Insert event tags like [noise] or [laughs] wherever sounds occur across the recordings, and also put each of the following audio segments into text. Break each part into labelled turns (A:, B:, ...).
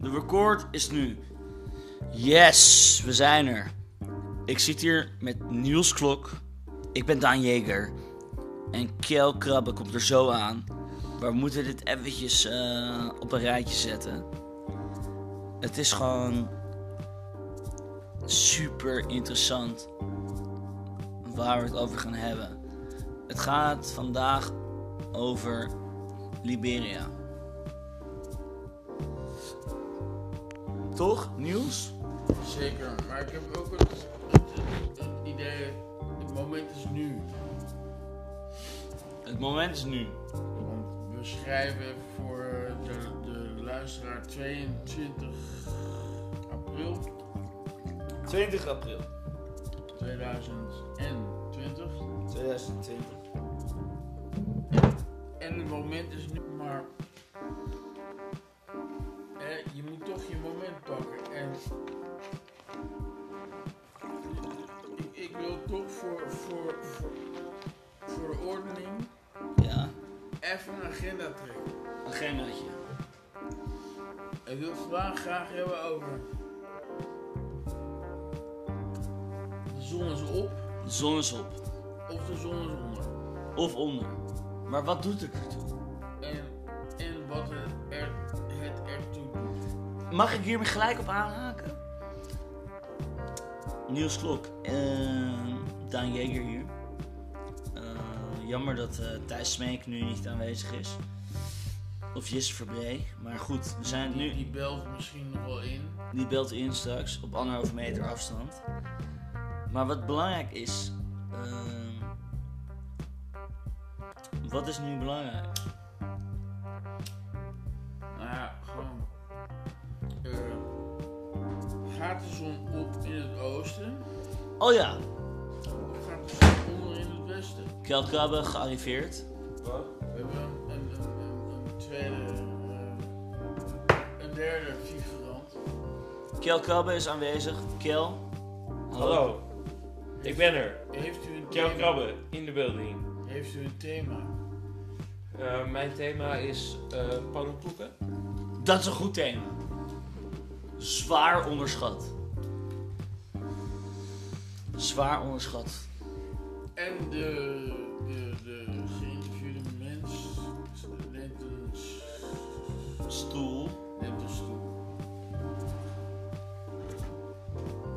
A: record is nu. Yes, we zijn er. Ik zit hier met Niels Klok. Ik ben Daan Jeger. En Kel Krabbe komt er zo aan. Maar we moeten dit eventjes eh, op een rijtje zetten. Het is gewoon super interessant waar we het over gaan hebben. Het gaat vandaag over Liberia. Toch, Niels?
B: Zeker, maar ik heb ook het, het- het idee, het moment is nu.
A: Het moment is nu.
B: Want we schrijven voor de, de luisteraar 22 april
C: 20 april
B: 2020.
C: 2020.
B: En het moment is nu, maar eh, je moet toch je moment pakken. En ik, ik wil toch voor, voor, voor, voor de ordening
A: Ja,
B: even een agenda trekken.
A: agendaatje.
B: Ik wil het vandaag graag hebben over. De zon is op
A: De zon is op.
B: of de zon is onder.
A: Of onder. Maar wat doet het ertoe?
B: En, en wat het er, het ertoe doet.
A: Mag ik hiermee gelijk op aanhaken? Niels Klok. eh, Daan Jeger hier. Eh, jammer dat eh, Thijs Smeek nu niet aanwezig is. Of Jesse Verbree. Maar goed, we zijn
B: Die,
A: nu...
B: die belt misschien nog wel in.
A: Die belt in straks op anderhalve meter afstand. Maar wat belangrijk is. ehm, wat is nu belangrijk?
B: Nou ja, gewoon. eh, gaat de zon op in het oosten
A: Oh ja,
B: of gaat de zon onder in het westen?
A: Kjeld Krabbe gearriveerd.
C: Wat?
B: We hebben een, een, een, een- een tweede. eh, een derde figurant.
A: Kjeld Krabbe is aanwezig. Kjel.
C: Hallo, ik ben er.
B: Heeft u een
C: Kjell
B: thema?
C: Krabbe, in de building.
B: Heeft u een thema?
C: Eh, mijn thema is eh pannenkoeken.
A: Dat is een goed thema. Zwaar onderschat. Zwaar onderschat.
B: En de, de, de geïnterviewde mens neemt een, s-
A: Stoel.
B: neemt een stoel.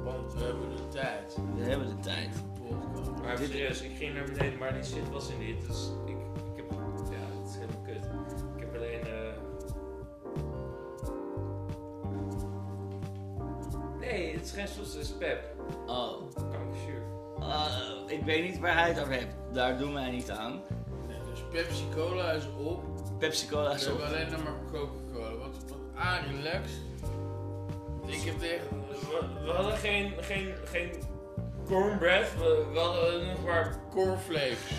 B: Want we hebben de tijd.
A: We hebben de tijd.
B: Podcast.
C: Maar serieus, ik ging naar beneden, maar die shit was er niet. Dus ik, ik heb. Ja, het is helemaal kut. Ik heb alleen. eh, Nee, het is geen soms, het is pep.
A: Oh.
C: Kankerzuur.
A: Eh, ik weet niet waar hij het over heeft. Daar doen wij niet aan.
B: Nee, Dus Pepsi Cola is op.
A: Pepsi Cola
B: We
A: is op.
B: hebben alleen nog maar Coca-Cola. Wat, wat A, relaxed. Want Ik heb tegen.
C: We, we hadden geen, geen, geen cornbread, we, we hadden nog maar
B: Cornflakes.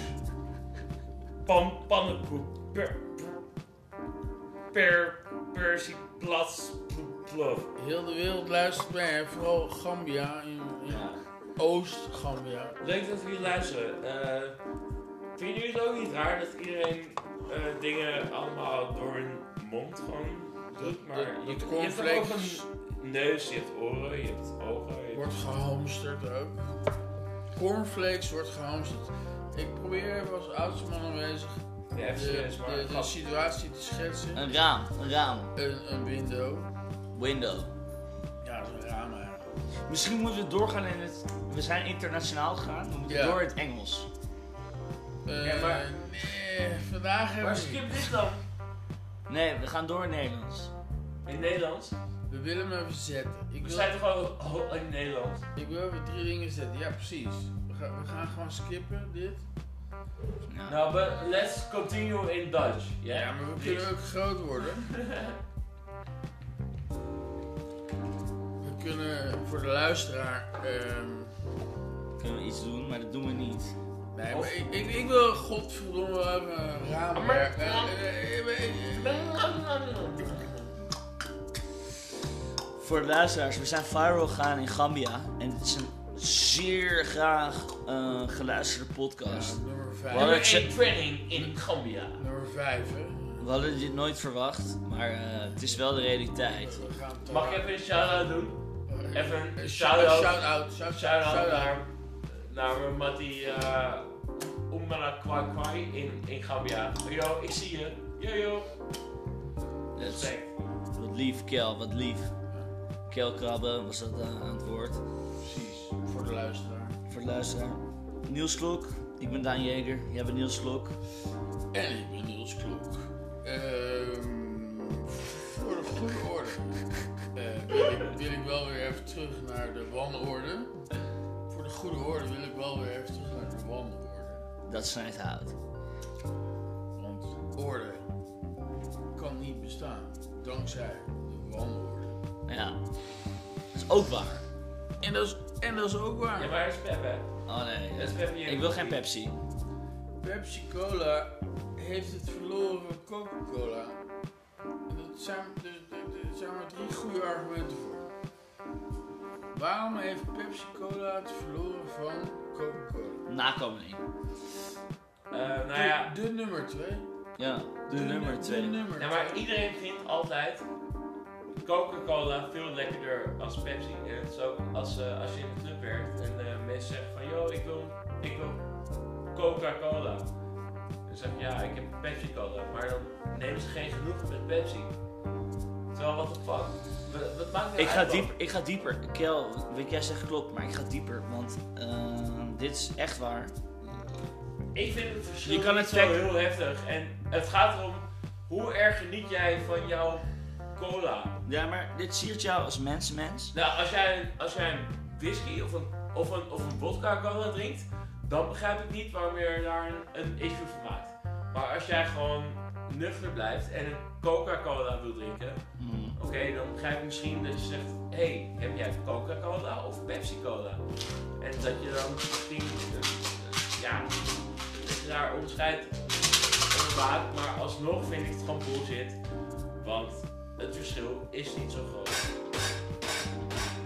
C: Pan, pannenkoek. Per, per, persie, plas, plof.
B: Heel de wereld luistert mee. en Vooral Gambia. In, in
C: Ja.
B: Oost-Gambia.
C: Leuk dat jullie luisteren. Eh vinden jullie het ook niet raar dat iedereen eh, dingen allemaal door hun mond gewoon doet? Maar
B: dat-
C: je,
B: dat
C: je hebt toch ook
B: cornflakes-
C: een neus, je hebt oren, je hebt ogen. je hebt-
B: Wordt gehamsterd ook. Cornflakes wordt gehamsterd. Ik probeer even als oudste man aanwezig
C: Ja,
B: de,
C: even serieus, maar
B: de, de
C: gast,
B: situatie te schetsen.
A: Een raam, een raam.
B: Een, een window.
A: Window.
B: Ja, dat is een raam eigenlijk.
A: Misschien moeten we doorgaan in het. We zijn internationaal gegaan, we moeten
B: Ja.
A: door in het Engels.
B: Eh,
C: Ja, maar-
B: Nee, vandaag hebben
C: Maar
B: we niet.
C: skip dit dan.
A: Nee, we gaan door in het Nederlands.
C: In Nederland?
B: We willen hem even zetten. Ik
C: We
B: wil,
C: zijn toch al al in Nederland?
B: ik wil even drie dingen zetten. Ja, precies. We, gaan- we gaan gewoon skippen, dit.
A: Ja.
C: Nou, but let's continue in Dutch. Yeah?
B: Ja, maar we
C: Please.
B: kunnen ook groot worden. We kunnen voor de luisteraar... ehm,
A: Kunnen we iets doen, maar dat doen we niet.
B: Nee,
C: Of-
B: maar ik, ik, ik wil godverdomme een raam.
C: Maar-
B: eh, eh, eh, eh, eh,
A: Voor de luisteraars, we zijn viral gegaan in Gambia. En het is een zeer graag eh, geluisterde
B: Ja,
A: podcast.
B: nummer
A: Wat?
B: 5.
C: Nummer 1 training in Gambia.
B: Nummer 5, hè?
A: We We hadden dit nooit verwacht, maar eh, het is wel de realiteit.
B: We gaan het, eh,
C: Mag ik even een shout-out doen?
B: eh,
C: Even een
B: eh,
C: shout-out.
B: Shout-out. shout-
C: Shout-out
B: Shout-out.
C: naar, naar mijn mattie eh Oemana Kwai Kwai in, in Gambia. Yo, ik zie je. Yo, yo.
A: Dat is-
C: Respect.
A: Dus wat lief, Kel, wat lief. Kelkrabben was dat eh, aan het woord.
B: Precies. Voor de luisteraar.
A: Voor de luisteraar. Niels Klok, ik ben Daan Jeger, jij bent Niels Klok.
B: En ik ben Niels Klok. Ehm, voor de goede orde eh, wil, ik, wil ik wel weer even terug naar de wanorde. Voor de goede orde wil ik wel weer even terug naar de wanorde.
A: Dat snijdt hout.
B: Want orde kan niet bestaan dankzij de wanorde.
A: Nou Ja, dat is ook waar.
B: En dat is, en dat is ook waar.
C: Ja, maar er is Peppe.
A: Oh nee,
C: Er is Peppe hier.
A: ik wil geen Pepsi.
B: Pepsi Cola heeft het verloren van Coca-Cola. En Dat zijn, er- er- er zijn maar drie goede argumenten voor. Waarom heeft Pepsi Cola het verloren van Coca-Cola?
A: Nakomeling.
C: Eh, nou ja.
B: De, de nummer twee.
A: Ja, de, nummer
B: De
A: 2.
B: nummer
C: Ja, maar
B: twee.
C: iedereen vindt altijd Coca-Cola veel lekkerder als Pepsi. En het is ook als, eh, als je in de club werkt en eh, mensen zeggen van, yo, ik wil, ik wil Coca-Cola. Dan zeg je, ja, ik heb Pepsi-Cola. Maar dan nemen ze geen genoeg met Pepsi. Terwijl, wat de fuck? Wat, wat maakt het
A: Ik ga,
C: uit, man?
A: diep, ik ga dieper. Kel, weet jij zegt klopt, maar ik ga dieper, want eh, dit is echt waar.
C: Ik vind het verschil
A: Je kan
C: niet
A: het
C: zo
A: fact-
C: heel heftig. En het gaat erom, hoe erg geniet jij van jouw cola?
A: Ja, maar dit siert jou als mensenmens.
C: Nou, als jij, een- als jij een whisky of een, of een, of een vodka cola drinkt, dan begrijp ik niet waarom je er daar een, een issue van maakt. Maar als jij gewoon nuchter blijft en een Coca-Cola wil drinken,
A: Hmm.
C: oké, dan begrijp ik misschien dat je zegt, hey, heb jij Coca-Cola of Pepsi-Cola? En dat je dan misschien, eh, eh, ja, dat je daar onderscheid in maakt, maar alsnog vind ik het gewoon bullshit, want het verschil is niet zo groot.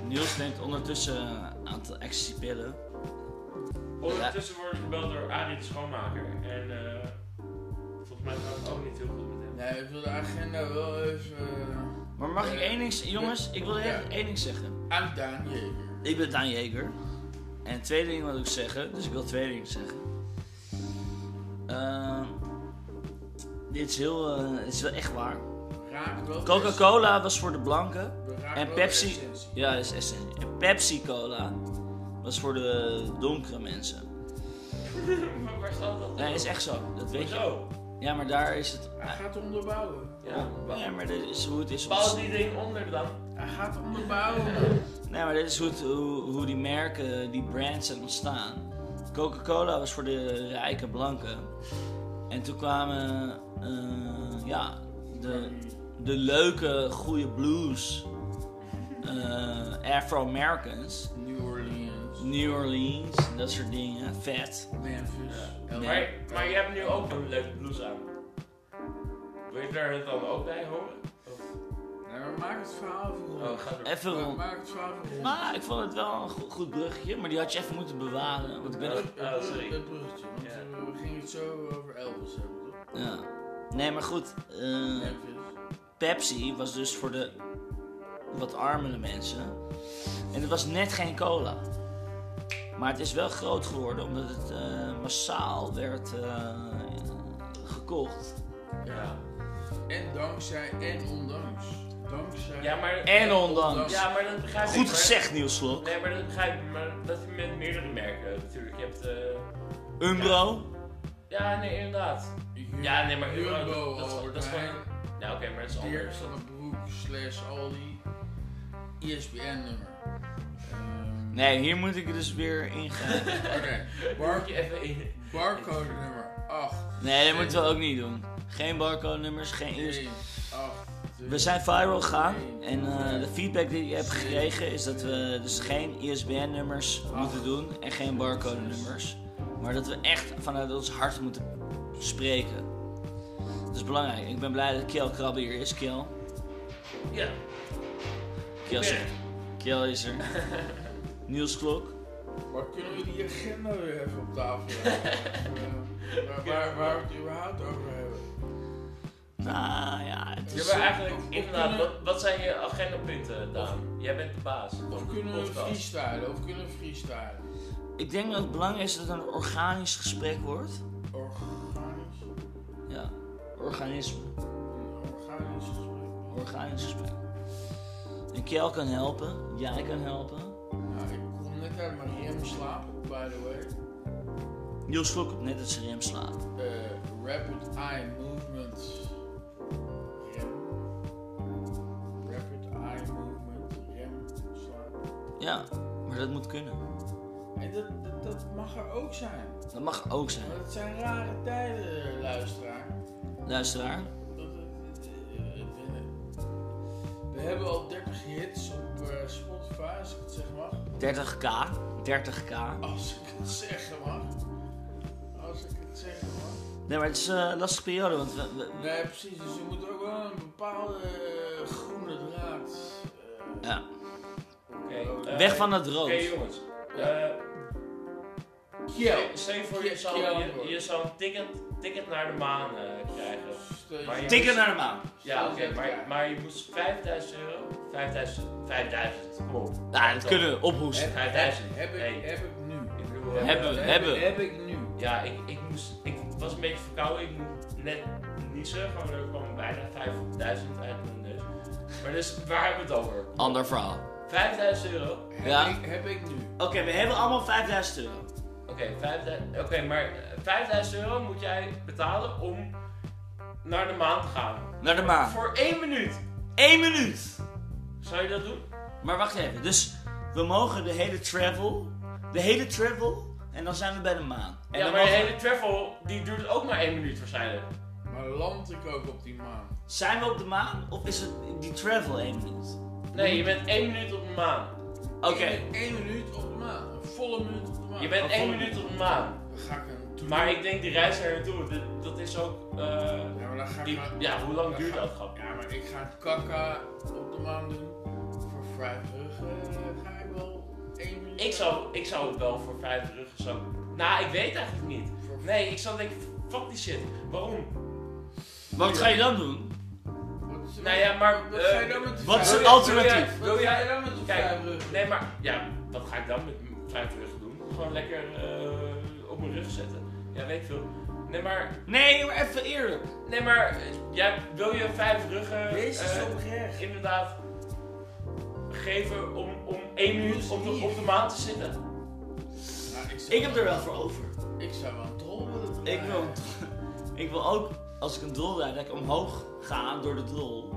A: Niels neemt ondertussen een aantal ecstasy-pillen.
C: Ondertussen word ik gebeld door Arie de schoonmaker. En eh, volgens mij gaat het ook niet heel goed met hem.
B: Nee, ik wil de agenda wel even eh,
A: Maar mag ik
B: Eh,
A: één ding zeggen? Jongens, ik wil
B: ja.
A: even één ding zeggen.
B: aan Daan Jeger.
A: Ik ben Daan Jeger. En twee dingen wil ik zeggen, dus ik wil twee dingen zeggen. Ehm, dit is heel, eh, dit is wel echt waar.
B: We raken wel
A: Coca-Cola was voor de blanken.
B: de essentie. We raken
A: En
B: wel
A: Pepsi.
B: de essentie.
A: Ja, dat is essentie. En Pepsi-Cola was voor de donkere mensen.
C: [laughs] maar waar staat dat?
A: Nee, is echt zo. Dat weet je.
C: Zo.
A: Ja, maar daar is het.
B: Hij gaat onderbouwen.
C: Ja,
A: Ja,
C: wa-
A: maar dit is hoe het is.
C: Bouw die ding onder dan.
B: Hij gaat onderbouwen. man.
A: Nee, maar dit is hoe, het- hoe, hoe die merken, die brands zijn ontstaan. Coca-Cola was voor de rijke blanken. En toen kwamen eh, ja, de, de leuke, goede blues. eh, Afro-Americans.
B: New Orleans.
A: New Orleans, dat soort dingen. Vet.
B: Memphis. LA.
C: Maar, maar je hebt nu ook een leuke blouse aan. Wil je daar het dan ook bij horen? Of-
B: Nee, maar maak het verhaal voor
C: Oh, ga door.
A: Even rond.
B: Maak het verhaal voor ons.
A: Maar ik vond het wel een go- goed bruggetje, maar die had je even moeten bewaren. Want ik ben...
C: Ah, sorry.
B: Het bruggetje, want eh,
C: Ja.
B: we- we gingen het zo over Elvis hebben, toch?
A: Ja. Nee, maar goed. eh,
B: Memphis.
A: Pepsi was dus voor de wat armere mensen. En het was net geen cola. Maar het is wel groot geworden omdat het eh, massaal werd eh, gekocht.
C: Ja.
B: En dankzij en ondanks. Dankzij.
C: Ja, maar,
A: En ondanks.
C: ja, maar dat begrijp ik.
A: Goed
C: maar-
A: gezegd, Niels Slok.
C: Nee, maar dat begrijp ik. Maar dat heb je met meerdere merken natuurlijk. Je hebt... eh,
A: Umbro.
C: Ja, nee, inderdaad.
B: Jum-
C: Ja, nee, maar Umbro,
B: Jumbo,
C: dat is-
B: Albert
C: dat is gewoon-
B: Heijn,
C: Nou, oké, maar dat is
B: Dirk
C: anders.
B: van den Broek, slash Aldi, E ISBN-nummer. Ehm,
A: Nee, hier moet ik dus weer ingaan.
B: Oké,
C: Park
B: Bar-
C: je even in.
B: barcode-nummer 8.
A: Nee, dat moeten we ook niet doen. Geen barcode-nummers, geen eerst.
B: 8.
A: We zijn viral gegaan en eh, de feedback die ik heb gekregen is dat we dus geen ISBN-nummers moeten doen en geen barcode-nummers. Maar dat we echt vanuit ons hart moeten spreken. Dat is belangrijk. Ik ben blij dat Kiel Krabbe hier is, Kiel.
C: Ja.
A: Kiel is er.
C: Ja.
A: Kiel is er. Niels Klok.
B: Maar kunnen we die agenda weer even op
C: [laughs]
B: eh, tafel leggen? Eh, waar, waar, waar we het überhaupt over hebben?
A: Nou, nou ja, het
C: Ja,
A: is...
C: maar eigenlijk,
B: Of- of
C: inderdaad,
B: kunnen-
C: wat, wat zijn je agendapunten, Daan? Jij bent de baas
B: Of
C: van de
B: kunnen we
C: podcast.
B: freestylen, of kunnen we freestylen.
A: Ik denk dat het belangrijk is dat het een organisch gesprek wordt.
B: Organisch.
A: Ja, organisme.
B: Een Organisch gesprek.
A: Organisch gesprek. En Kjell kan helpen, jij kan helpen.
B: Nou, ik kom net uit mijn remslaap, by the way.
A: Niels Vlok op net het zijn rem slaat.
B: Eh, rapid eye movement. Rem. Rapid eye movement. Rem. Slaap.
A: Ja, maar dat moet kunnen.
B: En dat, dat, dat mag er ook zijn.
A: Dat mag ook zijn.
B: Maar het zijn rare tijden, eh, luisteraar.
A: Luisteraar,
B: Dat- dat- eh, We hebben al 30 hits op eh, Spotify, als ik het zeg mag.
A: 30k, 30k.
B: Als ik het zeggen mag. Als ik het zeggen mag.
A: Nee, maar het is eh, een lastige periode, want we, we- we-
B: Nee, precies. Dus je moet ook wel een bepaalde eh, groene draad. eh,
A: ja.
C: Oké, eh,
A: weg van het
C: Oké
A: rood.
C: jongens,
B: Ja.
C: Eh,
B: Kiel.
C: stel je voor
B: Kiel,
C: je zou,
B: Kiel,
C: je,
B: hoor.
C: je zou een ticket, ticket naar de maan eh, krijgen.
B: Steun.
C: Maar je-
A: Tikken naar de maan.
C: Ja, oké,
B: Steun.
C: maar, maar je moest 5000 euro, 5000, 5000, kom op.
A: Nou, dat kunnen we ophoesten.
B: Heb- heb-
C: 5000.
B: Heb
C: Nee.
B: ik- heb ik nu.
C: Ik bedoel, eh,
A: Hebben we, hebben we.
B: Heb ik nu.
C: Ja, ik, ik, moest, ik was een beetje verkouden. Ik moest net niezen. Gewoon, er kwam bijna 5000 uit mijn neus. Maar dus, waar hebben we het over?
A: Ander verhaal.
C: 5000 euro? Oké,
B: Heb
A: Ja.
B: ik- Heb ik nu.
A: Oké, we hebben allemaal 5000 euro.
C: 5000 Oké, maar eh, 5000 euro moet jij betalen om naar de maan te gaan.
A: Naar de maan.
C: Voor één minuut.
A: Eén minuut.
C: Zou je dat doen?
A: Maar wacht even, dus we mogen de hele travel, de hele travel, en dan zijn we bij de maan. En
C: ja,
A: dan
C: maar de
A: mogen-
C: hele travel die duurt ook maar één minuut waarschijnlijk.
B: Maar land ik ook op die maan?
A: Zijn we op de maan of is het die travel één minuut?
C: Nee, je bent één minuut op de maan.
A: Oké,
B: Eén minuut op de maan. Een volle minuut op de maan.
C: Je bent
A: Oh,
C: één
A: volgende.
C: minuut op de maan.
B: Dan ga ik een toer-
C: Maar ik denk die reis daar naartoe, dat- dat is ook. eh,
B: Ja, maar dan ga ik
C: die-
B: maar-
C: ja, hoe lang
B: dan
C: duurt
B: ga-
C: dat grap?
B: Ja, maar ik ga kaka op de maan doen. Voor vrijdag eh ga ik wel één minuut.
C: Ik zou, ik zou het wel voor vijf ruggen zo. Nou, ik weet eigenlijk niet.
B: Voor-
C: Nee, ik zou denken, fuck die shit. Waarom?
A: wat ga je dan doen?
B: Wat is-
C: Nou ja, maar,
B: Wat
C: eh,
B: ga je dan met de
A: wat is
B: vrijdag-
A: het alternatief?
C: Wil
B: Wat ga
C: jij-
B: je dan met de
C: Kijk,
B: vrijdag?
C: nee, maar ja, wat ga ik dan met mijn vijf ruggen doen? Gewoon lekker eh, op mijn rug zetten. Ja, weet ik veel. Nee, maar,
A: Nee, maar even eerlijk.
C: nee, maar eh, jij wil je vijf ruggen
B: Deze is
C: eh,
B: oprecht.
C: inderdaad geven om, om één
B: dus
C: minuut op de, op de maan te zitten?
B: Nou, zou-
A: Ik heb er wel voor over.
B: Ik zou wel een drol willen
A: Ik
B: draaien.
A: wil, [laughs] ik wil ook, als ik een drol rijd, dat ik omhoog ga door de drol.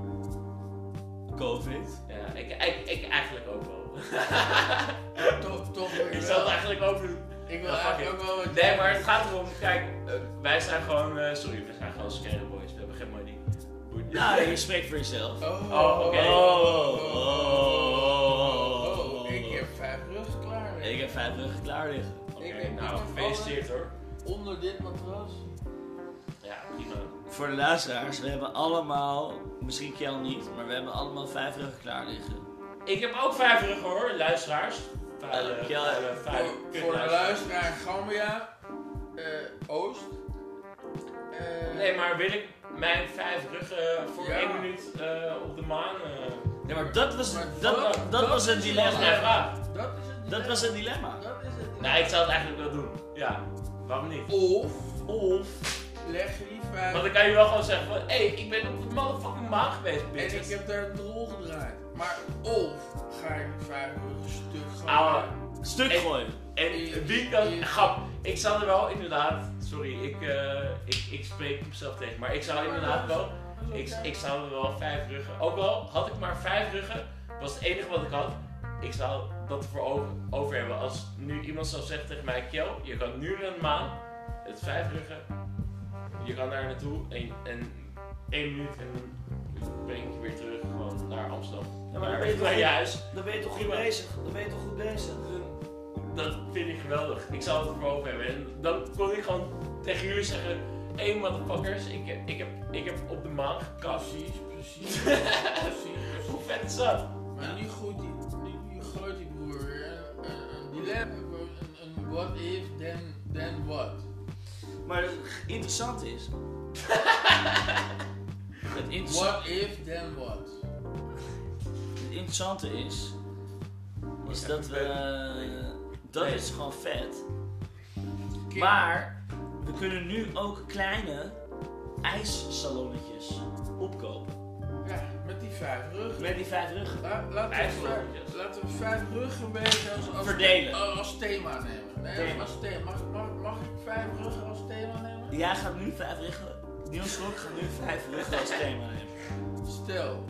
A: Covid.
C: Ja, ik, ik, ik eigenlijk ook wel. [laughs]
B: Toch, toch wil
C: Ik
B: ik
C: zou
B: wel.
C: het eigenlijk ook doen.
B: Ik wil
C: Ja, fuck
B: eigenlijk ook wel wat
C: Nee,
B: jij
C: maar het
B: doet.
C: gaat erom, kijk, eh, wij zijn gewoon, eh, sorry, wij zijn gewoon scary boys, we hebben geen money. Boeit niet.
A: [laughs] Nou, je spreekt voor jezelf.
B: Oh,
C: Oh, oké.
B: oh, oh, oh. Ik heb vijf rug klaar.
A: Ik heb vijf ruggen klaar liggen.
C: Oké,
B: ik heb
C: nou,
B: niet
C: gefeliciteerd hoor.
B: Onder dit matras.
C: Ja, prima.
A: Voor de luisteraars, we hebben allemaal, misschien Kjell niet, maar we hebben allemaal vijf ruggen klaar liggen.
C: Ik heb ook vijf ruggen hoor, luisteraars.
A: Eh,
C: Vijf,
A: ja,
C: vijf, vijf
B: voor,
C: kut
B: Oh, voor de
C: luisteraars.
B: luisteraar Gambia, eh, Oost. Eh,
C: Nee, maar wil ik mijn vijf ruggen voor
B: Ja.
C: één minuut eh, op de maan? eh
A: Nee, maar dat was,
B: Maar
A: dat,
B: dat-
A: dat,
B: dat
A: was het
B: is
C: dat is
A: dilemma.
C: mijn vraag.
B: dat is het.
A: Dat was het dilemma.
B: Dat is het.
C: Nee, ik zou het eigenlijk wel doen. Ja, waarom niet?
B: Of
A: Of,
B: leg je die vijf.
C: Want dan kan je wel gewoon zeggen van, hé, hey, ik ben op de motherfucking maan geweest,
B: en ik
C: bitches.
B: heb daar een rol gedraaid. Maar of ga ik die vijf rug stuk
C: Ouwe,
B: gaan.
A: stuk
C: Ik-
A: gooien.
C: En wie kan. Grap, ik zou er wel inderdaad. Sorry, ik, eh, ik, ik spreek mezelf tegen. Maar ik zou inderdaad wel. Ik, ik zou er wel vijf ruggen. Ook al had ik maar vijf ruggen, was het enige wat ik had. Ik zou dat ervoor over, over hebben. Als nu iemand zou zeggen tegen mij: Kel, je kan nu naar de maan. Het is vijf ruggen. Je kan daar naartoe. En, en één minuut en dan ben ik weer terug gewoon naar Amsterdam.
A: Ja, maar dan
C: maar
A: ben je toch
C: naar
A: goed-
C: je huis.
A: Dan ben je toch goed
C: Prima.
A: bezig. Dan ben je toch goed bezig.
C: Dat vind ik geweldig. Ik zou het ervoor over hebben. En dan kon ik gewoon tegen jullie zeggen: Hé hey, motherfuckers, ik heb, ik, heb, ik heb op de maan gekast.
B: Precies,
C: [laughs]
B: precies. precies.
C: Hoe vet is dat?
B: Maar nu gooit die, nu, nu gooit die broer weer een, een, een dilemma, een, een what if, then, then what.
A: Maar het interessante is. Het, interessa-
B: What if, then what?
A: het interessante is, is
C: Echt
A: dat we...
C: vet.
A: dat
C: Nee.
A: is gewoon vet.
B: Kim,
A: Maar we kunnen nu ook kleine ijssalonnetjes opkopen.
B: Ja, met die vijf ruggen.
A: Met die vijf ruggen.
B: La- laten, we
C: Ijsblokjes.
B: vijf, laten we vijf ruggenwegen als, als,
A: Verdelen.
B: als, als thema nemen. Nee,
A: Thema.
B: als thema. Mag, mag, mag ik vijf ruggen als thema nemen?
A: Jij gaat nu vijf ruggen. Niels Klok gaat nu vijf ruggen als thema nemen.
B: Stel,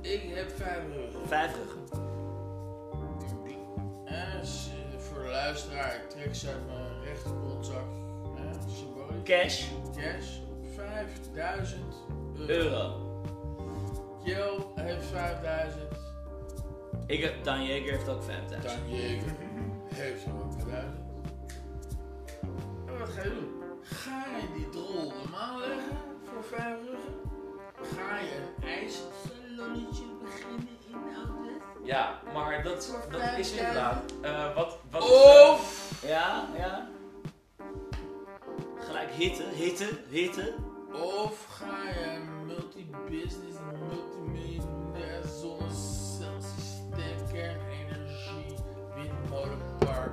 B: ik heb vijf ruggen.
A: Vijf ruggen.
B: Eh, s- voor de luisteraar, ik trek ze uit mijn rechterbolzak. Eh, symbolisch.
A: Cash.
B: Cash, 5000 euro.
A: Euro.
B: Jel heeft 5000.
A: Ik heb, Dan Jeger heeft ook 5000.
B: Dan Jeger heeft ook 5000. En wat ga je doen? Ga je die drol normaal leggen voor vijf ruggen? Ga je een ijssalonnetje beginnen in Oudwest?
C: Ja, maar dat,
B: Voor
C: dat is
B: 5000.
C: inderdaad. eh, wat, wat is, eh,
B: Of,
A: Ja, ja. Gelijk hitten, hitten, hitten.
B: of ga je een multi-business, multimiljonair zonnecelsysteem, kernenergie, windmolenpark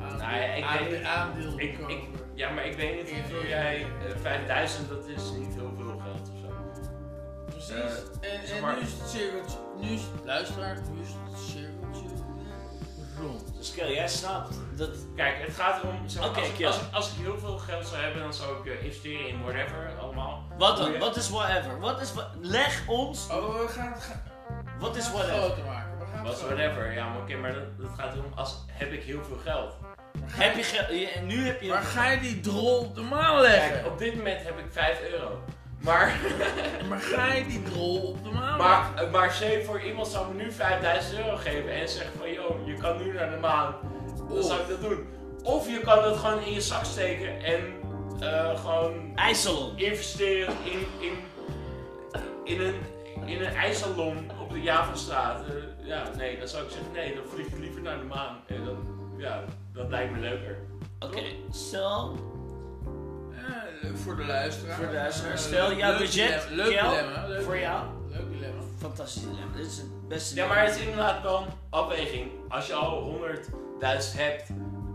B: aan,
C: Nou ja, ik
B: aan,
C: denk-
B: aandeel
C: ik, ik,
B: kopen?
C: ja, maar ik weet niet hoeveel jij. eh, 5000, dat is niet heel veel geld of zo.
B: Precies.
C: Eh,
B: en
C: zeg
B: en
C: maar-
B: nu is het cirkeltje. Nu is het, luisteraar, nu is het cirkeltje rond.
A: Dus Kel, jij snapt dat
C: Kijk, het gaat erom. Zeg maar,
A: Oké,
C: als, ik-
A: Kiel.
C: als, ik- als ik heel veel geld zou hebben, dan zou ik eh, investeren in whatever, allemaal.
A: Wat
C: Hoe
A: dan?
C: je-
A: Wat is whatever? Wat is wa- Leg ons.
B: Oh, we gaan het, ga-
A: Wat
B: we
A: is
B: gaan het
A: whatever?
B: groter maken. We gaan het
C: Wat
B: groter
C: whatever. Ja, maar oké, maar dat, dat gaat erom. Als, heb ik heel veel geld?
B: maken.
A: Heb je geld? je- En nu heb je.
B: Oh. Waar ga je die drol normaal leggen?
C: Kijk, op dit moment heb ik 5 euro. Maar,
B: Maar ga je die drol op de maan?
C: maar, maar save voor iemand zou me nu 5000 euro geven en zeggen van joh, je kan nu naar de maan. Dan zou ik dat doen. Of je kan dat gewoon in je zak steken en eh, gewoon
A: IJsselon.
C: investeren in, in, in een, in een ijssalon op de Javastraat. Eh, ja, nee, dan zou ik zeggen nee, dan vlieg ik liever naar de maan. En dan, ja, dat lijkt me leuker.
A: Oké, stel.
B: Eh, voor de luisteraar.
A: Voor de luisteraar.
B: Eh,
A: Stel
B: leuk-
A: jouw
B: leuk
A: budget.
B: dilemma, Leuk dilemma.
A: Kel,
B: leuk
A: voor
B: dilemma,
A: jou.
B: Leuk dilemma.
A: Fantastisch dilemma. Dit is het beste.
C: Ja, maar het is inderdaad wel een afweging. Als je al 100.000 hebt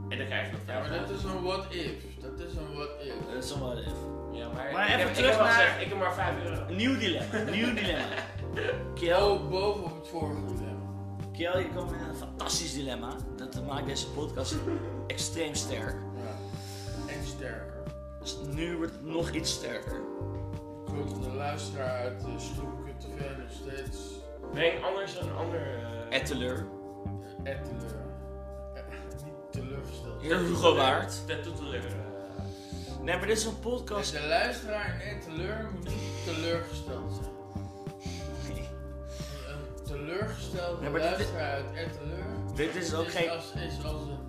C: en dan krijg je nog
B: Ja, maar
C: 50.
B: dat is een what if. Dat is een what if.
A: Dat is een whatever.
C: Ja, maar,
A: Maar Eh,
C: ik
A: even
C: heb, ik
A: terug
C: heb al
A: naar-
C: gezegd, ik heb maar 5 euro.
A: Een nieuw dilemma. een Nieuw dilemma. Kel,
B: Oh, bovenop het vorige dilemma.
A: Kel, je komt met een fantastisch dilemma. Dat maakt deze podcast extreem sterk.
B: Ja. En sterker.
A: Dus nu wordt het nog iets sterker.
B: Komt de luisteraar uit de Sloemke TV nog steeds
C: Breng anders een ander. eh,
A: En teleur.
B: eh, teleur. Eh, Niet teleurgesteld.
A: Heer Hugo Waard.
C: Dat doet wel eh, lekker.
A: Nee, maar dit is een
B: Dus
A: podcast.
B: de luisteraar en teleur moet niet teleurgesteld zijn. Een teleurgestelde
A: Ja, maar dit-
B: luisteraar uit Etteleur
A: Dit is ook geen.
B: als, is als een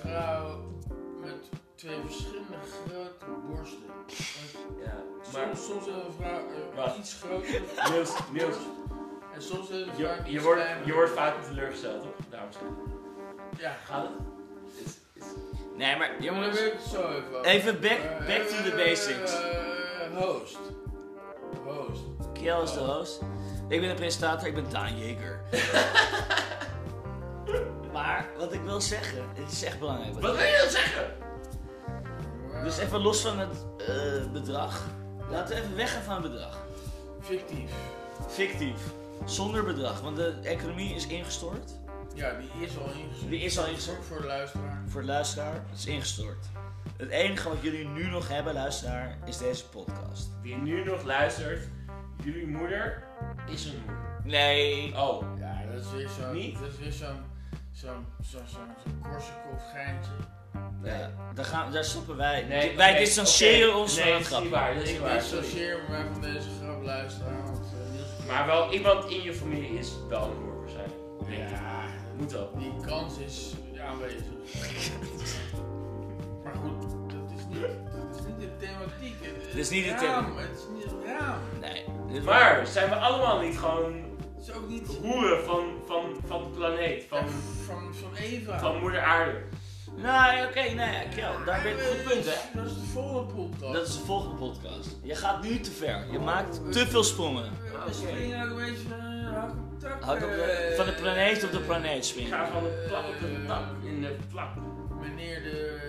B: vrouw met twee verschillende grote borsten. Want
C: Ja, maar.
B: soms, soms heeft een vrouw eh,
C: Wacht.
B: iets groter
C: Niels, Niels,
B: en soms heeft een vrouw
C: je,
B: iets
C: je, wordt,
B: kleiner.
C: je wordt vaak teleurgesteld, toch? Dames en heren.
B: Ja,
C: Gaat het? Is, is...
A: Nee, maar
B: maar daar
A: jongens.
B: wil ik het zo even over.
A: Even back,
B: Eh,
A: back to the
B: eh,
A: basics.
B: eh, host. Host.
A: Kiel is de host. Ik ben de presentator, ik ben Daan
C: [laughs]
A: Jeker. maar wat ik wil zeggen, het is echt belangrijk.
C: Wat wil je dan zeggen?
A: Dus even los van het eh, bedrag. Laten we even weggaan van het bedrag.
B: Fictief.
A: Fictief. Zonder bedrag, want de economie is ingestort.
B: Ja, die is al ingezet.
A: Die is al ingestort.
B: Voor de luisteraar.
A: Voor de luisteraar, het is ingestort. Het enige wat jullie nu nog hebben, luisteraar, is deze podcast.
C: Wie nu nog luistert, jullie moeder is een moeder.
A: Nee.
C: Oh,
B: Ja, dat is weer zo'n.
C: Niet?
B: Dat is weer zo'n. Zo'n. Zo'n. Zo'n. Zo'n Korsakoff geintje.
A: Ja, daar, gaan, daar stoppen wij.
C: nee.
A: wij
C: oké,
A: distancieren
C: oké.
A: ons
C: nee,
A: van het
C: dat is niet
A: grap.
C: waar, dat is niet
B: Ik
C: waar. sorry.
B: dissocieer me maar van deze grap luisteraar. Want eh, Niels.
C: Maar wel iemand in je familie is wel een moeder waarschijnlijk. Denk ik.
B: Ja,
C: Moet wel.
B: die kans is aanwezig. maar goed, dat is niet. Dat is niet de thematiek. Het
A: is niet de
B: het
A: thema-
B: raam, Het is niet het raam.
A: Nee. dit-
C: Maar zijn we allemaal niet gewoon
B: Het is ook niet.
C: hoeren van, van, van de planeet, van,
B: Van, van, van Eva.
C: van moeder aarde?
A: Nou, oké, nou ja, Kel, daar ben je een goed punt, hè?
B: Dat is de volgende podcast.
A: Dat is de volgende podcast. Je gaat nu te ver. Je maakt te veel sprongen.
B: We
C: Oké.
B: springen ook een beetje van eh, hak op tak.
A: Hak op de-
B: eh,
A: van de planeet op de planeet swingen.
C: Ik ga van de plak op de tak in de plak.
B: Meneer de...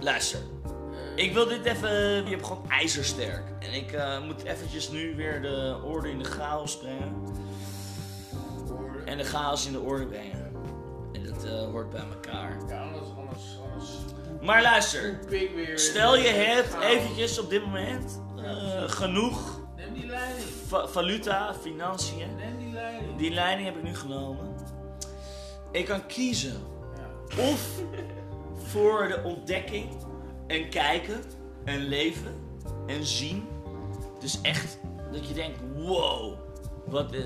A: Luister,
B: eh,
A: ik wil dit even. Je hebt gewoon ijzersterk. En ik eh, moet eventjes nu weer de orde in de chaos brengen.
B: hoorde.
A: En de chaos in de orde brengen. En dat eh, hoort bij elkaar.
B: Ja, anders, anders, anders.
A: Maar luister,
B: poep ik weer.
A: stel je hebt
B: Chaos.
A: eventjes op dit moment eh, genoeg
B: Neem die leiding.
A: va- valuta, financiën.
B: Neem die leiding.
A: Die leiding heb ik nu genomen. Ik kan kiezen
B: Ja.
A: Of voor de ontdekking en kijken en leven en zien. Dus echt dat je denkt, wow, wat eh,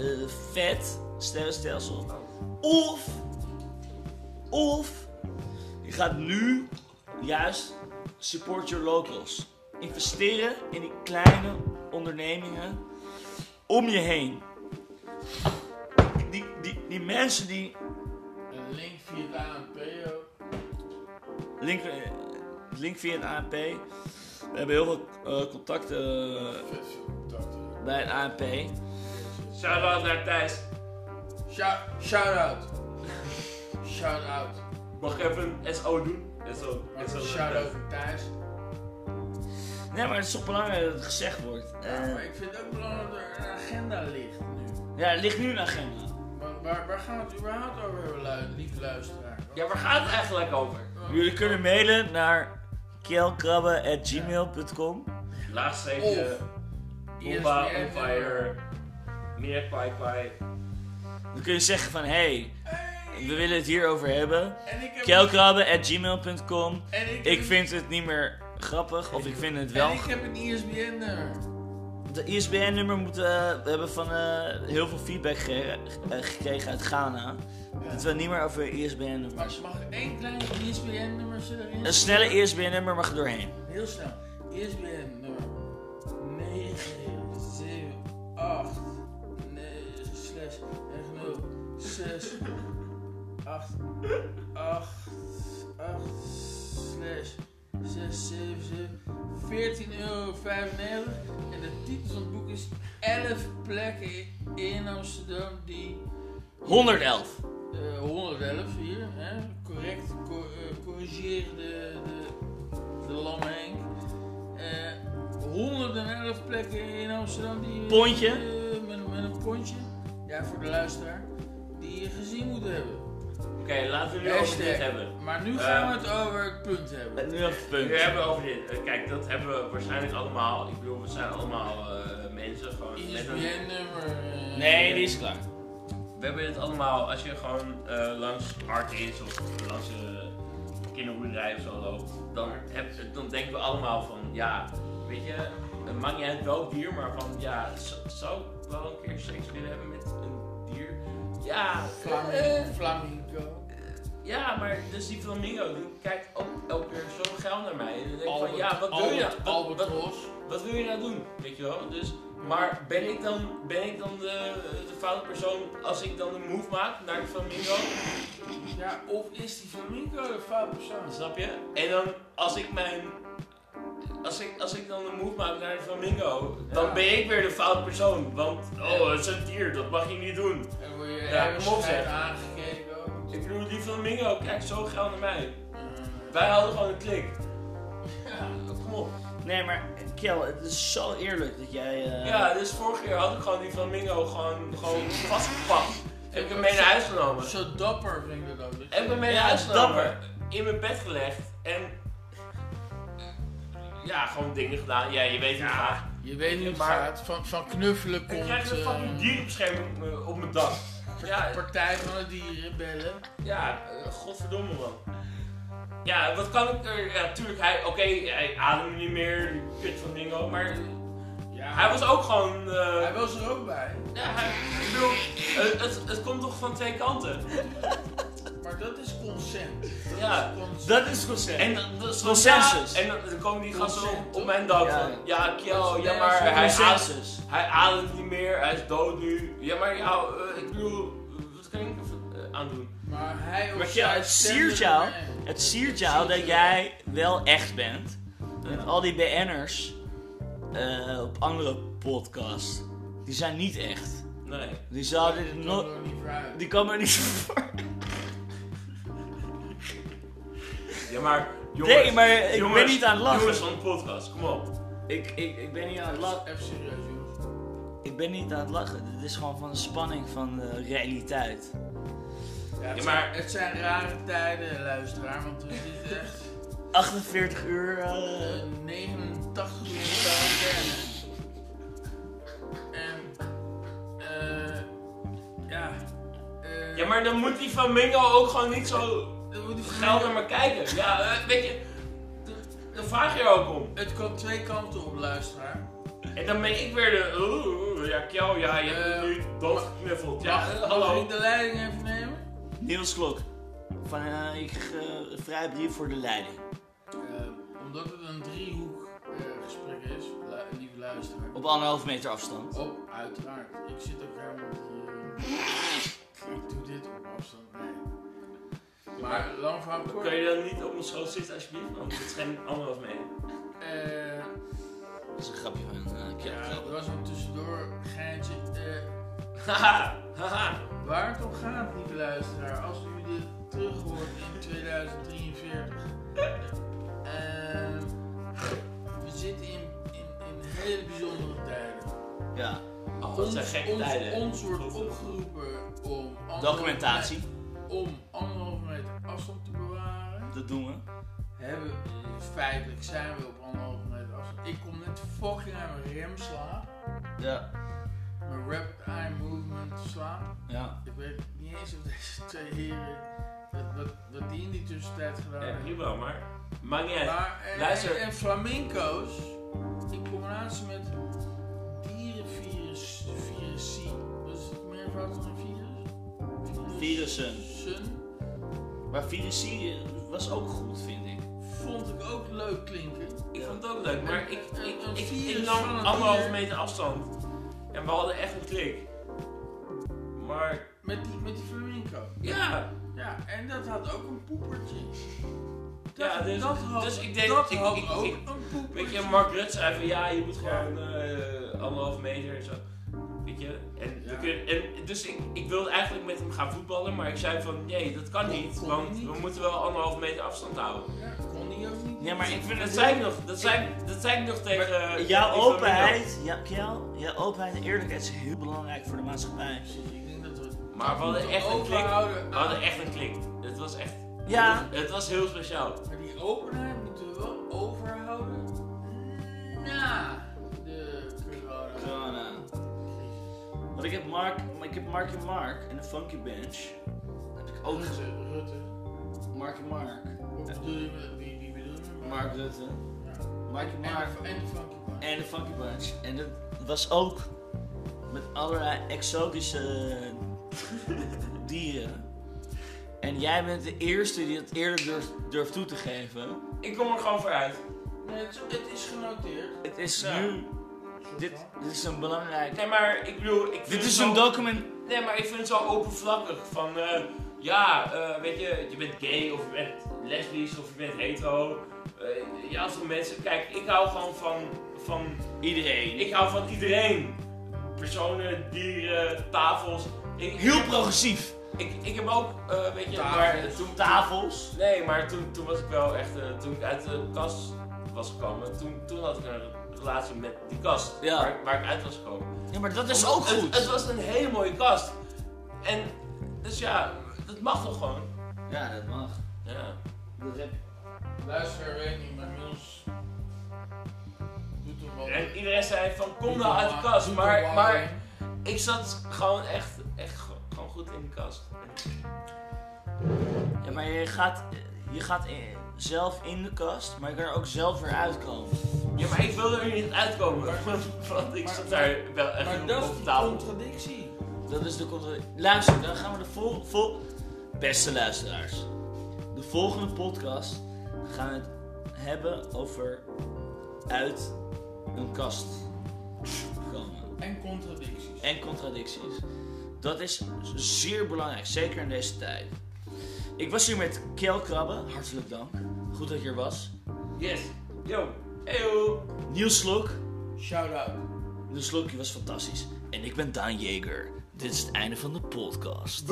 A: vet sterrenstelsel. Of, of, je gaat nu juist support your locals. Investeren in die kleine ondernemingen om je heen. Die, die, die mensen die
B: Een link via het ANP ook.
A: Link, eh, link via het ANP. We hebben heel veel eh, contacten eh,
B: Vet veel contacten.
A: bij het ANP.
C: Shout out naar Thijs.
B: Shout, shout out. Shout
A: [laughs]
B: out.
C: Mag ik even een SO doen? SO.
B: Maar
C: SO.
B: Shout out voor Thijs.
A: Nee, maar het is toch belangrijk dat het gezegd wordt.
B: Ja,
A: Eh,
B: maar ik vind het ook belangrijk dat er een agenda ligt nu.
A: ja, het ligt nu een agenda.
B: Maar waar, waar gaan we het überhaupt over hebben, lu- lieve luisteraar?
C: Ja, waar gaat het eigenlijk over?
A: Jullie kunnen mailen naar kelkrabben.gmail.com.
C: Laagsteentje.
B: Of.
C: Bomba
B: ESPN.
C: on fire. Meer kwai kwai.
A: Dan kun je zeggen van, hé, hey, we willen het hierover hebben.
B: En ik heb...
A: kelkrabben.gmail.com
B: en ik,
A: Ik
B: heb-
A: vind het niet meer grappig, of ik vind het
B: En
A: wel...
B: ik heb een ISBN-nummer.
A: De ISBN-nummer moeten we... We hebben van eh, heel veel feedback ge- eh, gekregen uit Ghana. Dat we niet meer over ISBN-nummer...
B: Maar ze mag één klein ISBN-nummer zitten erin.
A: Een snelle ISBN-nummer mag er doorheen.
B: Heel snel. ISBN nummer 9, 7, 8, 9, slash 9, 6, 8, 8, 8, slash 6, 7, 7, 14,95 euro. En de titel van het boek is 11 plekken in Amsterdam die
A: 111.
B: eh, 111 hier, hè? correct, co eh, corrigeer de, de, de lamme Henk. Eh, 111 plekken in Amsterdam die... eh,
A: Pontje.
B: eh, met, met een pontje, ja voor de luisteraar, die je gezien moet hebben.
C: Oké, laten we nu over dit hebben.
B: Maar nu
C: Eh.
B: gaan we het over het punt hebben.
A: Nu even
C: Nu
A: punt.
C: hebben we over dit. Eh, Kijk, dat hebben we waarschijnlijk allemaal. Ik bedoel, we zijn allemaal eh, mensen. Gewoon met een
B: ISBN-nummer... eh,
A: Nee, die is klaar.
C: We hebben dit allemaal, als je gewoon eh, langs Artis of langs eh kinderboerderij of zo loopt, dan, heb, dan denken we allemaal van, ja, weet je, het maakt niet uit welk dier, maar van, ja, z- zou ik wel een keer seks willen hebben met een dier? Ja, eh,
B: Flamingo. Flamingo.
C: ja, maar dus die flamingo, die kijkt ook elke keer zo geil naar mij. En dan denk ik van,
B: Albert-
C: ja, wat wil je
B: Albert-
C: nou? Wat- wat-
B: Albatros.
C: wat wil je nou doen? Weet je wel? Dus, maar ben ik dan, ben ik dan de, de foute persoon als ik dan een move maak naar de flamingo?
B: Ja, of is die flamingo een fout persoon?
C: Snap je? En dan als ik mijn. Als ik, als ik dan een move maak naar de flamingo, dan
B: Ja.
C: ben ik weer de foute persoon. Want, oh, het is een dier, dat mag je niet doen.
B: En word je
C: Ja,
B: ergens
C: kom op, zeg.
B: aangekeken ook.
C: Ik bedoel, die flamingo kijkt zo geil naar mij.
B: Eh,
C: Wij hadden gewoon een klik.
B: Ja,
C: Kom op.
A: Nee, maar Kel, het is zo eerlijk dat jij... eh,
C: Ja, dus vorige keer had ik gewoon die flamingo gewoon, gewoon vastgepakt. Heb ik hem mee naar huis genomen.
B: Zo dapper vind ik dat ook.
C: Heb ik hem mee naar
A: Ja,
C: huis genomen.
A: dapper.
C: In mijn bed gelegd en. Ja, gewoon dingen gedaan. Ja, je weet het graag.
B: Je weet niet hoe het
C: Maar-
B: gaat. Van, van knuffelen komt...
C: Ik krijg een
B: eh,
C: fucking dierenbescherming op mijn- op mijn dak. Ja,
B: Partij van de dieren bellen.
C: ja, eh, godverdomme man. Ja, wat kan ik er... Ja, tuurlijk, hij... Oké, hij ademde niet meer, die kut van dingo, maar...
B: Ja,
C: Hij was ook gewoon... eh,
B: hij was er ook bij.
C: ja, hij, ik bedoel, het, het, het komt toch van twee kanten?
B: Maar dat is consent. Dat
C: Ja.
B: is consent.
A: Dat is concept.
C: En dan- dat is gewoon,
A: Consensus.
C: ja, en dan, dan komen die gasten op,
B: Consent,
C: op mijn dak
A: Ja.
C: van... Ja,
B: Dat
C: Kjell,
B: is
C: ja,
B: nergens
C: maar hij, ademt,
A: consensus.
C: hij ademt niet meer, hij is dood nu. Ja, maar ja, eh, ik bedoel... Wat kan ik er aan doen?
B: Maar hij of
A: Maar ja,
B: zij
A: het
B: stemde
A: siert jou.
B: ermee.
A: Het siert jou dat jij wel echt bent. Met al die BN'ers eh, op andere podcasts, die zijn niet echt.
C: Nee.
A: Die zouden dit
B: Ik
A: nooit.
B: kan er niet vooruit.
A: Die komen er niet [laughs] voor.
C: Ja, maar jongens.
A: Nee, maar ik ben
C: jongens,
A: niet aan het lachen.
C: Jongens van de podcast, kom op.
A: Ik, ik, ik ben niet aan het lachen.
B: Even serieus, jongens.
A: Ik ben niet aan het lachen. Dit is gewoon van de spanning van de realiteit.
B: Ja, het,
C: Ja, maar-
B: maar... het zijn rare tijden, luisteraar, want we zitten echt
A: 48 uur.
B: eh,
A: eh,
B: 89 uur in quarantaine. En, eh, ja. eh,
C: Ja, maar dan moet die Flamingo ook gewoon niet zo
B: dan moet die
C: geil naar
B: familie-
C: me kijken. Ja, eh, weet je, d- dan vraag je er ook om.
B: Het kan twee kanten op, luisteraar.
C: En dan ben ik weer de, oeh, oeh, ja, Kjell, ja, je hebt
B: Eh,
C: nu doodgeknuffeld. Ja,
B: Mag-
C: eh,
B: mag
C: hallo.
B: ik de leiding even nemen?
A: Niels Klok. Van, eh, ik kreeg eh, vrij brief voor de leiding.
B: Eh, omdat het een driehoek eh, gesprek is, lu- lieve luisteraar.
A: Op anderhalf meter afstand.
B: Op, uiteraard. Ik zit ook helemaal hier. eh, [laughs] Ik doe dit op afstand, nee. Maar lang verhaal kort.
C: Kun je dan niet op mijn schoot zitten alsjeblieft? Want het schijnt anderhalf mee.
B: eh,
A: Dat is een grapje van eh
B: ja,
A: Kjell.
B: er was een tussendoor geintje. eh,
C: Haha, haha.
B: waar het om gaat, lieve luisteraar, als u dit terug hoort in 2043. eh, we zitten in, in, in hele bijzondere tijden.
A: Ja,
C: Oh, dat
B: Ons,
C: zijn gekke
B: ons-
C: tijden.
B: ons wordt
C: Goed.
B: opgeroepen om anderhalve
A: documentatie.
B: meter- om anderhalve meter afstand te bewaren.
A: Dat doen we.
B: Hebben, feitelijk zijn we op anderhalve meter afstand. Ik kom net fucking aan mijn rem slaan.
A: Ja.
B: Mijn rapid eye movement slaan.
A: Ja.
B: Ik weet niet eens of deze twee heren wat, wat, wat die in die tussentijd gedaan
C: Ja,
B: hebben.
C: prima, maar maakt niet uit.
B: Maar eh,
C: Luister.
B: En, flamenco's in combinatie met dierenvirus, virus C. Wat is het meervoud van een virus?
A: Virussen.
B: Sun.
A: Maar Virusie eh, was ook goed, vind ik.
B: Vond ik ook leuk klinken.
C: Ik vond het ook leuk, maar ik, ik,
B: Een-
C: ik,
B: een
C: ik,
B: virus
C: nam
B: van een
C: anderhalve
B: dier.
C: meter afstand. En we hadden echt een klik. Maar
B: Met die, met die flamenco.
C: ja,
B: Ja, en dat had ook een poepertje. Dat,
C: Ja, dus-
B: dat had,
C: dus ik denk-
B: dat
C: ik-
B: had
C: ik-
B: ook
C: ik-
B: een poepertje.
C: weet je, Mark Rutte zei van ja, je moet gewoon eh anderhalve meter en zo. Weet je? En, we
B: Ja.
C: kunnen- en dus ik, ik wilde eigenlijk met hem gaan voetballen, maar ik zei van nee, dat kan niet,
B: Kon
C: want
B: niet.
C: we moeten wel anderhalve meter afstand houden.
B: Ja, kon die ook niet.
A: Ja, maar ik vind
C: Dat
A: het
C: zei ik nog, dat zei, ik- dat zei ik nog tegen. eh,
A: Jouw
C: tegen
A: openheid, ja, Kjell, jouw openheid en eerlijkheid is heel belangrijk voor de maatschappij.
B: Ik denk dat we
C: Flamingo. Maar we hadden echt een klik.
B: overhouden
C: We
B: aan-
C: hadden echt een klik. Het was echt.
A: Ja.
C: Het was heel speciaal.
B: Maar die openheid moeten we wel overhouden na de corona.
A: Corona. Want ik heb Mark, ik heb Marky Mark en de Funky Bench. Heb ik ook gezien.
B: Rutte, Rutte.
A: Marky Mark.
B: Wat bedoel je met wie, wie bedoel je?
A: Mark Rutte.
B: Ja.
A: Marky Mark
B: En, en de Funky Bunch.
A: en de Funky Bunch. En dat was ook met allerlei exotische [laughs] dieren. En jij bent de eerste die dat eerlijk durft, durft toe te geven.
C: Ik kom er gewoon voor uit.
B: Nee, het, het is genoteerd.
A: Het is
C: Ja.
A: nu, dit, dit is een belangrijk...
C: Nee, maar ik bedoel, ik vind
A: Dit
C: het
A: is
C: zo-
A: een document...
C: Nee, maar ik vind het zo openvlakkig. Van, eh, ja, eh, weet je, je bent gay of je bent lesbisch of je bent hetero. Eh, ja, veel mensen. Kijk, ik hou gewoon van, van,
A: Iedereen.
C: ik hou van iedereen. Personen, dieren, tafels. Ik, ik
A: Heel
C: heb-
A: progressief.
C: Ik, ik heb ook, eh, weet je,
B: Tafels.
C: maar toen,
A: Tafels.
C: Nee, maar toen, toen was ik wel echt, eh, toen ik uit de kast was gekomen, toen, toen had ik een relatie met die kast
A: Ja.
C: waar, waar ik uit was gekomen.
A: Ja, maar dat is
C: Omdat
A: ook
C: het-
A: goed.
C: Het, was een hele mooie kast. En dus ja, dat mag toch gewoon.
A: Ja, dat mag.
C: Ja.
A: Dat heb
B: Luister, weet niet, maar Niels doet hem wel.
C: En iedereen zei van kom
B: Doet
C: nou
B: hem
C: uit de
B: wel-
C: kast.
B: doet
C: Maar,
B: hem wel
C: maar
B: alleen.
C: ik zat gewoon echt, echt go- gewoon goed in die kast.
A: Ja, maar je gaat, je gaat in- zelf in de kast, maar je kan er ook zelf weer uitkomen.
C: Ja, maar ik wilde er niet uitkomen. [laughs]
B: Maar-
C: Want ik
B: maar-
C: zat daar wel echt
B: Maar dat is
C: op
B: die
C: tafel.
B: contradictie.
A: Dat is de controle. Luister, dan gaan we de vol, vol... Beste luisteraars. De volgende podcast gaan we het hebben over uit een kast komen.
B: En contradicties.
A: En contradicties. Dat is zeer belangrijk, zeker in deze tijd. Ik was hier met Keelkrabbe, hartelijk dank. Goed dat je er was.
C: Yes. Yo. Eyo.
A: Niels Slok,
B: Shout out.
A: Niels Slokje was fantastisch. En ik ben Daan Jeger. Dit is het einde van de podcast.